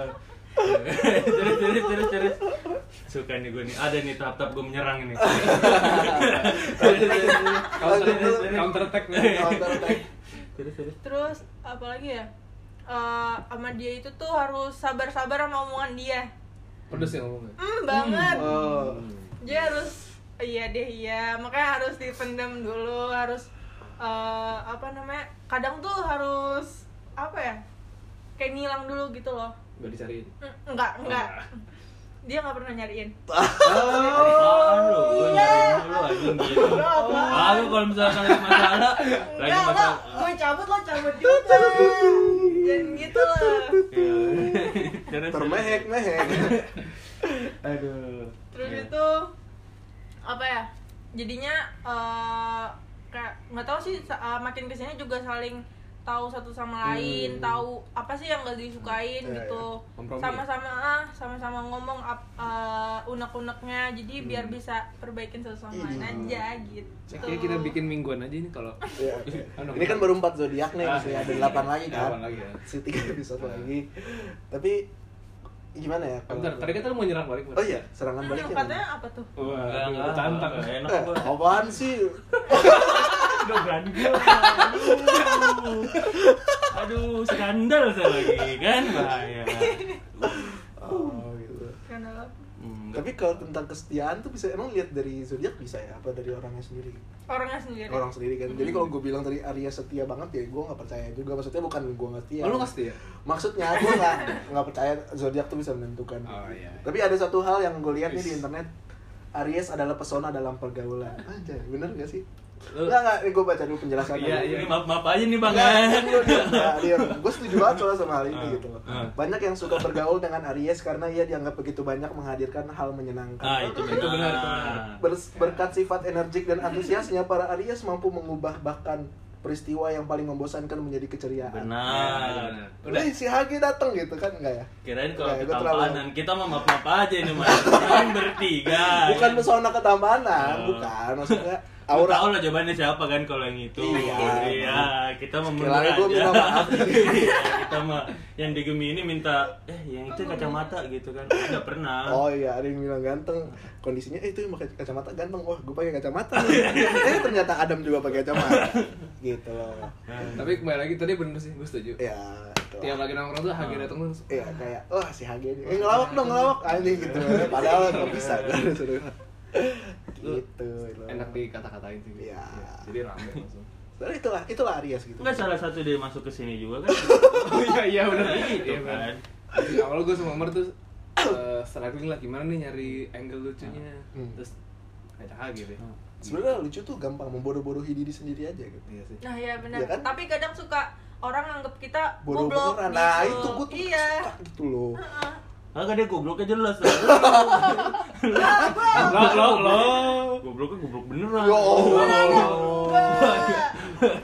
C: terus terus terus terus suka nih gue nih ada nih tahap-tahap gue menyerang ini
B: Counter
A: Lanjut dulu.
B: counter attack nih.
A: Counter attack.
C: terus terus
D: terus apalagi ya Eh, sama dia itu tuh harus sabar-sabar sama omongan dia
B: Pedes ya ngomongnya
D: hmm banget
A: Oh.
D: dia harus iya deh iya makanya harus dipendam dulu harus eh, apa namanya kadang tuh harus apa ya kayak ngilang dulu gitu loh
B: Gak dicariin
D: Hmm, enggak enggak dia nggak pernah nyariin
C: Apaan lu? Gua nyariin lu anjing gitu. Aku kalau misalkan lagi masalah, lagi
D: enggak lo
C: masalah.
D: gue cabut lo cabut juga dan gitu lah
C: Ya. Terus,
A: Termehek, mehek.
C: terus. Aduh.
D: terus
A: Iya.
C: Ya.
D: itu apa ya jadinya eh, kayak nggak tahu sih sa- eh, makin kesini juga saling tahu satu sama lain
B: Hmm.
D: tahu apa sih yang gak disukain
A: Iya,
D: gitu
B: iya. Kompromi.
D: sama-sama ah sama-sama ngomong ap- eh, unek-uneknya jadi biar bisa perbaikin satu sama lain
A: Hmm. Iya.
D: aja gitu
B: Kayaknya
A: Oh.
B: kita bikin mingguan aja ini kalau
A: Iya.
B: Aduh,
A: Ini kan baru 4 zodiak nih,
B: Ah,
A: masih
B: iya.
A: ada 8 lagi kan.
B: Delapan lagi ya.
A: Masih 3 episode
B: Ah.
A: lagi. Tapi gimana ya? kalau-
B: Bentar, tadi kata lu mau nyerang balik
A: Oh iya, serangan
D: Hmm,
A: balik yang
D: katanya apa tuh
C: Enggak,
B: Wah,
C: enggak,
B: tantang
C: enggak, Enak
A: Eh,
C: gua.
A: apaan sih?
C: Udah berani gua. Aduh. Aduh, skandal saya lagi kan bahaya.
A: Oh, gitu.
D: Skandal apa?
C: Hmm,
A: Tapi kalau tentang kesetiaan tuh bisa emang lihat dari zodiak bisa ya apa dari orangnya sendiri?
D: orangnya sendiri
A: Orang sendiri kan. Jadi kalau gue bilang tadi Arya setia banget ya, gue nggak percaya juga. Maksudnya bukan gue nggak setia.
B: Oh, lu nggak setia?
A: Maksudnya gue nggak nggak percaya zodiak tuh bisa menentukan.
B: Oh, iya.
A: Tapi ada satu hal yang gue lihat nih di internet. Aries adalah pesona dalam pergaulan. Aja, bener gak sih?
B: Lu-
A: Enggak, enggak, gue baca dulu penjelasannya.
B: Iya, iya.
C: Ini maaf-maaf aja nih Bang.
A: Iya.
B: ya.
C: kan?
A: gue setuju banget soalnya sama hal ini
C: Ah,
A: gitu loh.
C: ah.
A: Banyak yang suka bergaul dengan Aries karena ia dianggap begitu banyak menghadirkan hal menyenangkan.
C: Ah, itu benar.
B: Itu benar, itu benar.
A: Bers- berkat sifat energik dan antusiasnya, para Aries mampu mengubah bahkan peristiwa yang paling membosankan menjadi keceriaan.
C: Benar.
A: Udah si Hagi dateng gitu kan enggak ya?
C: Kirain kalau
A: Enggak,
C: kita
A: gua terlalu-
C: tampanan, kita mah maaf-maaf aja ini mah. Kan bertiga.
A: Bukan pesona ketampanan,
C: Oh.
A: bukan maksudnya
C: Lu
A: aura.
C: tahu lah jawabannya siapa kan kalau yang itu.
A: Iya.
C: Iya, kita mah
A: Sekali
C: mundur
A: lagi
C: aja.
A: gua minta maaf.
C: Iya, kita mah yang di Gemini minta eh yang itu kacamata gitu kan. Enggak pernah.
A: Oh iya, ada yang bilang ganteng. Kondisinya eh, itu yang pakai kacamata ganteng. Wah, gue pakai kacamata. eh ternyata Adam juga pakai kacamata. gitu loh.
C: Nah.
B: Tapi kembali lagi tadi bener sih, gue setuju.
A: Ya, itu.
B: Tiap lagi nongkrong tuh Hagi datang terus.
A: Iya, kayak wah si Hage ini. Eh ngelawak dong, ngelawak. Anjing gitu. Padahal nggak bisa kan disuruh. Gitu. loh.
B: Enak dikata-katain sih.
A: Iya.
B: Jadi rame langsung.
A: Sebenarnya itulah, itulah Aries gitu.
C: Enggak salah satu dia masuk ke sini juga kan.
B: Oh iya iya benar.
C: Gitu
B: Iya
C: kan.
B: kan. Jadi awal gue sama Omar tuh eh, struggling lah gimana nih nyari angle lucunya.
A: Hmm.
B: Terus ada Hagi deh.
C: Hmm.
A: sebenarnya lucu tuh gampang membodoh-bodohi diri sendiri aja gitu
B: Iya sih.
D: Nah ya benar.
A: Iya kan?
D: Tapi kadang suka orang anggap kita
A: bodoh
D: goblok
A: beneran
D: gitu.
A: nah itu gue tuh
D: iya.
A: suka gitu loh
D: Heeh.
C: Kagak dia gobloknya jelas.
D: Lah, gua-
B: Lo lo lo.
C: Gobloknya goblok beneran.
A: Yo.
D: Mana ada?
A: Oh.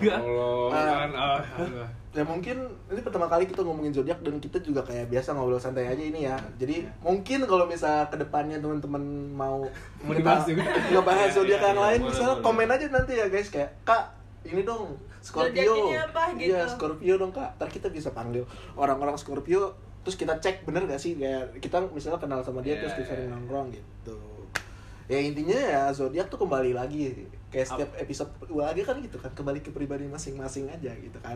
B: Ya Allah. kan, ah, Allah.
A: ya mungkin ini pertama kali kita ngomongin zodiak dan kita juga kayak biasa ngobrol santai aja ini ya
B: Iya.
A: jadi mungkin kalau misal kedepannya teman-teman mau
B: Mau dibahas
A: kita
B: juga.
A: ngebahas
B: Iya, iya,
A: zodiak yang
B: iya,
A: lain
B: boleh,
A: misalnya
B: boleh.
A: komen aja nanti ya guys kayak kak ini dong Scorpio
D: Zodiak ini apa?"
A: iya
D: gitu.
A: Scorpio dong kak ntar kita bisa panggil orang-orang Scorpio terus kita cek bener gak sih kayak kita misalnya kenal sama dia
B: Iya,
A: terus kita sering
B: iya.
A: nongkrong gitu ya intinya ya zodiak tuh kembali lagi kayak setiap episode lagi kan gitu kan kembali ke pribadi masing-masing aja gitu kan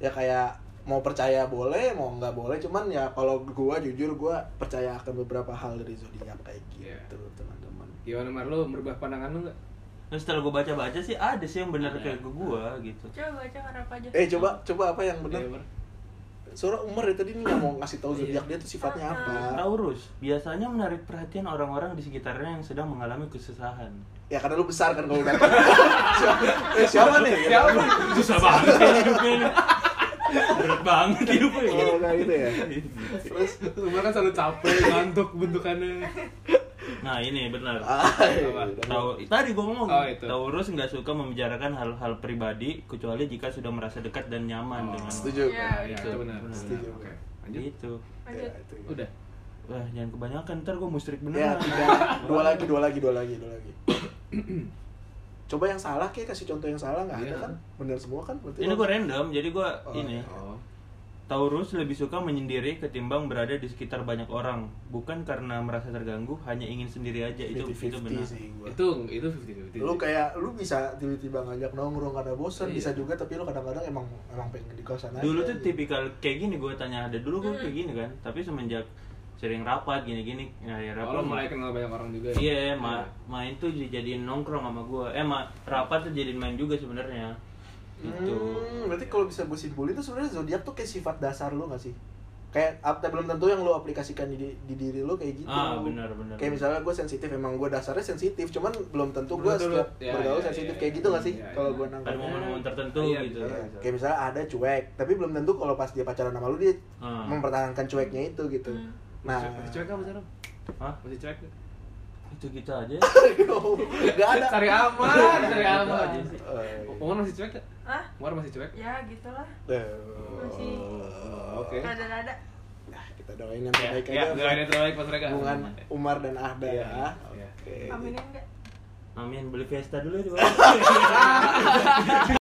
A: ya kayak mau percaya boleh mau nggak boleh cuman ya kalau gua jujur gua percaya akan beberapa hal dari zodiak kayak gitu
B: Iya.
A: teman-teman
B: Gimana Mar lo merubah pandangan lo nggak?
C: Nah, setelah gue baca-baca sih ada sih yang bener kayak ke gue gitu.
D: Coba coba harap aja.
A: eh coba coba apa yang
B: Iya,
A: benar
B: Mar.
A: suara Umar ya tadi nih nggak mau ngasih tahu zodiak dia tuh sifatnya apa
C: Taurus biasanya menarik perhatian orang-orang di sekitarnya yang sedang mengalami kesusahan.
A: ya karena lu besar kan kalau udah siapa, eh, siapa nih
B: Siapa?
C: Susah banget ya hidupnya. nih. Berat banget hidupnya.
A: Oh, kayak gitu ya terus
B: Umar kan selalu capek, ngantuk bentukannya.
C: Nah ini benar.
A: ah,
C: Tau, tadi gue ngomong
B: Oh, itu.
C: Taurus nggak suka membicarakan hal-hal pribadi kecuali jika sudah merasa dekat dan nyaman dengan
A: setuju
D: Iya,
B: Nah,
D: iya.
B: itu benar. benar.
A: Setuju.
B: Oke. Lanjut.
C: gitu.
D: Lanjut.
A: Ya, itu.
B: Udah.
C: Wah jangan kebanyakan ntar gue musrik bener.
A: Ya, tiga, dua lagi, dua lagi, dua lagi, dua lagi. Coba yang salah kayak kasih contoh yang salah nggak ada
B: Iya.
A: kan? Bener semua kan? Berarti
C: Ini
A: lo-
C: gue random jadi gue
A: Oh,
C: ini.
B: Oh.
C: Taurus lebih suka menyendiri ketimbang berada di sekitar banyak orang, bukan karena merasa terganggu, hanya ingin sendiri aja. Itu itu
A: 50-50
C: benar.
A: sih gua.
B: Itu itu 50
A: Lu
B: 50.
A: kayak lu bisa tiba-tiba ngajak nongkrong karena bosan,
B: Iya.
A: bisa juga tapi lu kadang-kadang emang emang pengen di kosan aja. gitu.
C: Dulu tuh tipikal kayak gini gue tanya ada dulu gue kayak gini kan, tapi semenjak sering rapat gini-gini, ya, ya
B: Oh, lo
C: rapat.
B: mulai kenal banyak orang juga. ya?
C: Iya, ma- main tuh dijadiin nongkrong sama gue. Eh, ma- rapat tuh jadiin main juga sebenarnya. Gitu.
A: Hmm, berarti kalau bisa gue simpulin tuh sebenarnya zodiak tuh kayak sifat dasar lu nggak sih? Kayak ap- belum tentu yang lu aplikasikan di, di diri lu kayak gitu.
C: Ah, benar, benar.
A: Kayak misalnya gue sensitif, emang gue dasarnya sensitif, cuman belum tentu gue
B: Belum tentu
A: setiap
B: lu- ya,
A: bergaul
B: ya,
A: sensitif
B: ya,
A: kayak
B: ya,
A: gitu nggak
B: ya,
A: sih?
B: ya,
A: Kalau
B: ya.
A: gue
C: Ada
A: nangkep.
C: momen-momen tertentu
B: Iya,
C: gitu.
B: bisa.
A: Iya, Kayak misalnya ada cuek, tapi belum tentu kalau pas dia pacaran sama lu dia
C: Hmm.
A: mempertahankan cueknya itu gitu.
D: Hmm.
A: Nah,
B: Masih Ah. cuek apa sekarang?
C: Hah?
B: Masih cuek? nggak?
C: Itu gitu aja.
A: nggak ada.
B: Cari aman, cari
C: Gitu
B: aman.
C: aja sih.
A: Eh,
B: Umar masih cuek nggak?
D: Hah?
B: Umar masih cuek?
D: Ya gitulah.
A: eh,
D: Masih.
B: Oh, Oke.
D: Rada-rada.
A: Nah, kita doain yang
B: Ya,
A: terbaik
B: ya, doain
A: aja.
B: yang terbaik buat mereka.
A: Hubungan Umar dan Ahda
B: Iya,
A: ya.
B: iya.
A: Oke.
D: ya Aminin enggak?
C: Amin, beli Fiesta dulu ya, di bawah.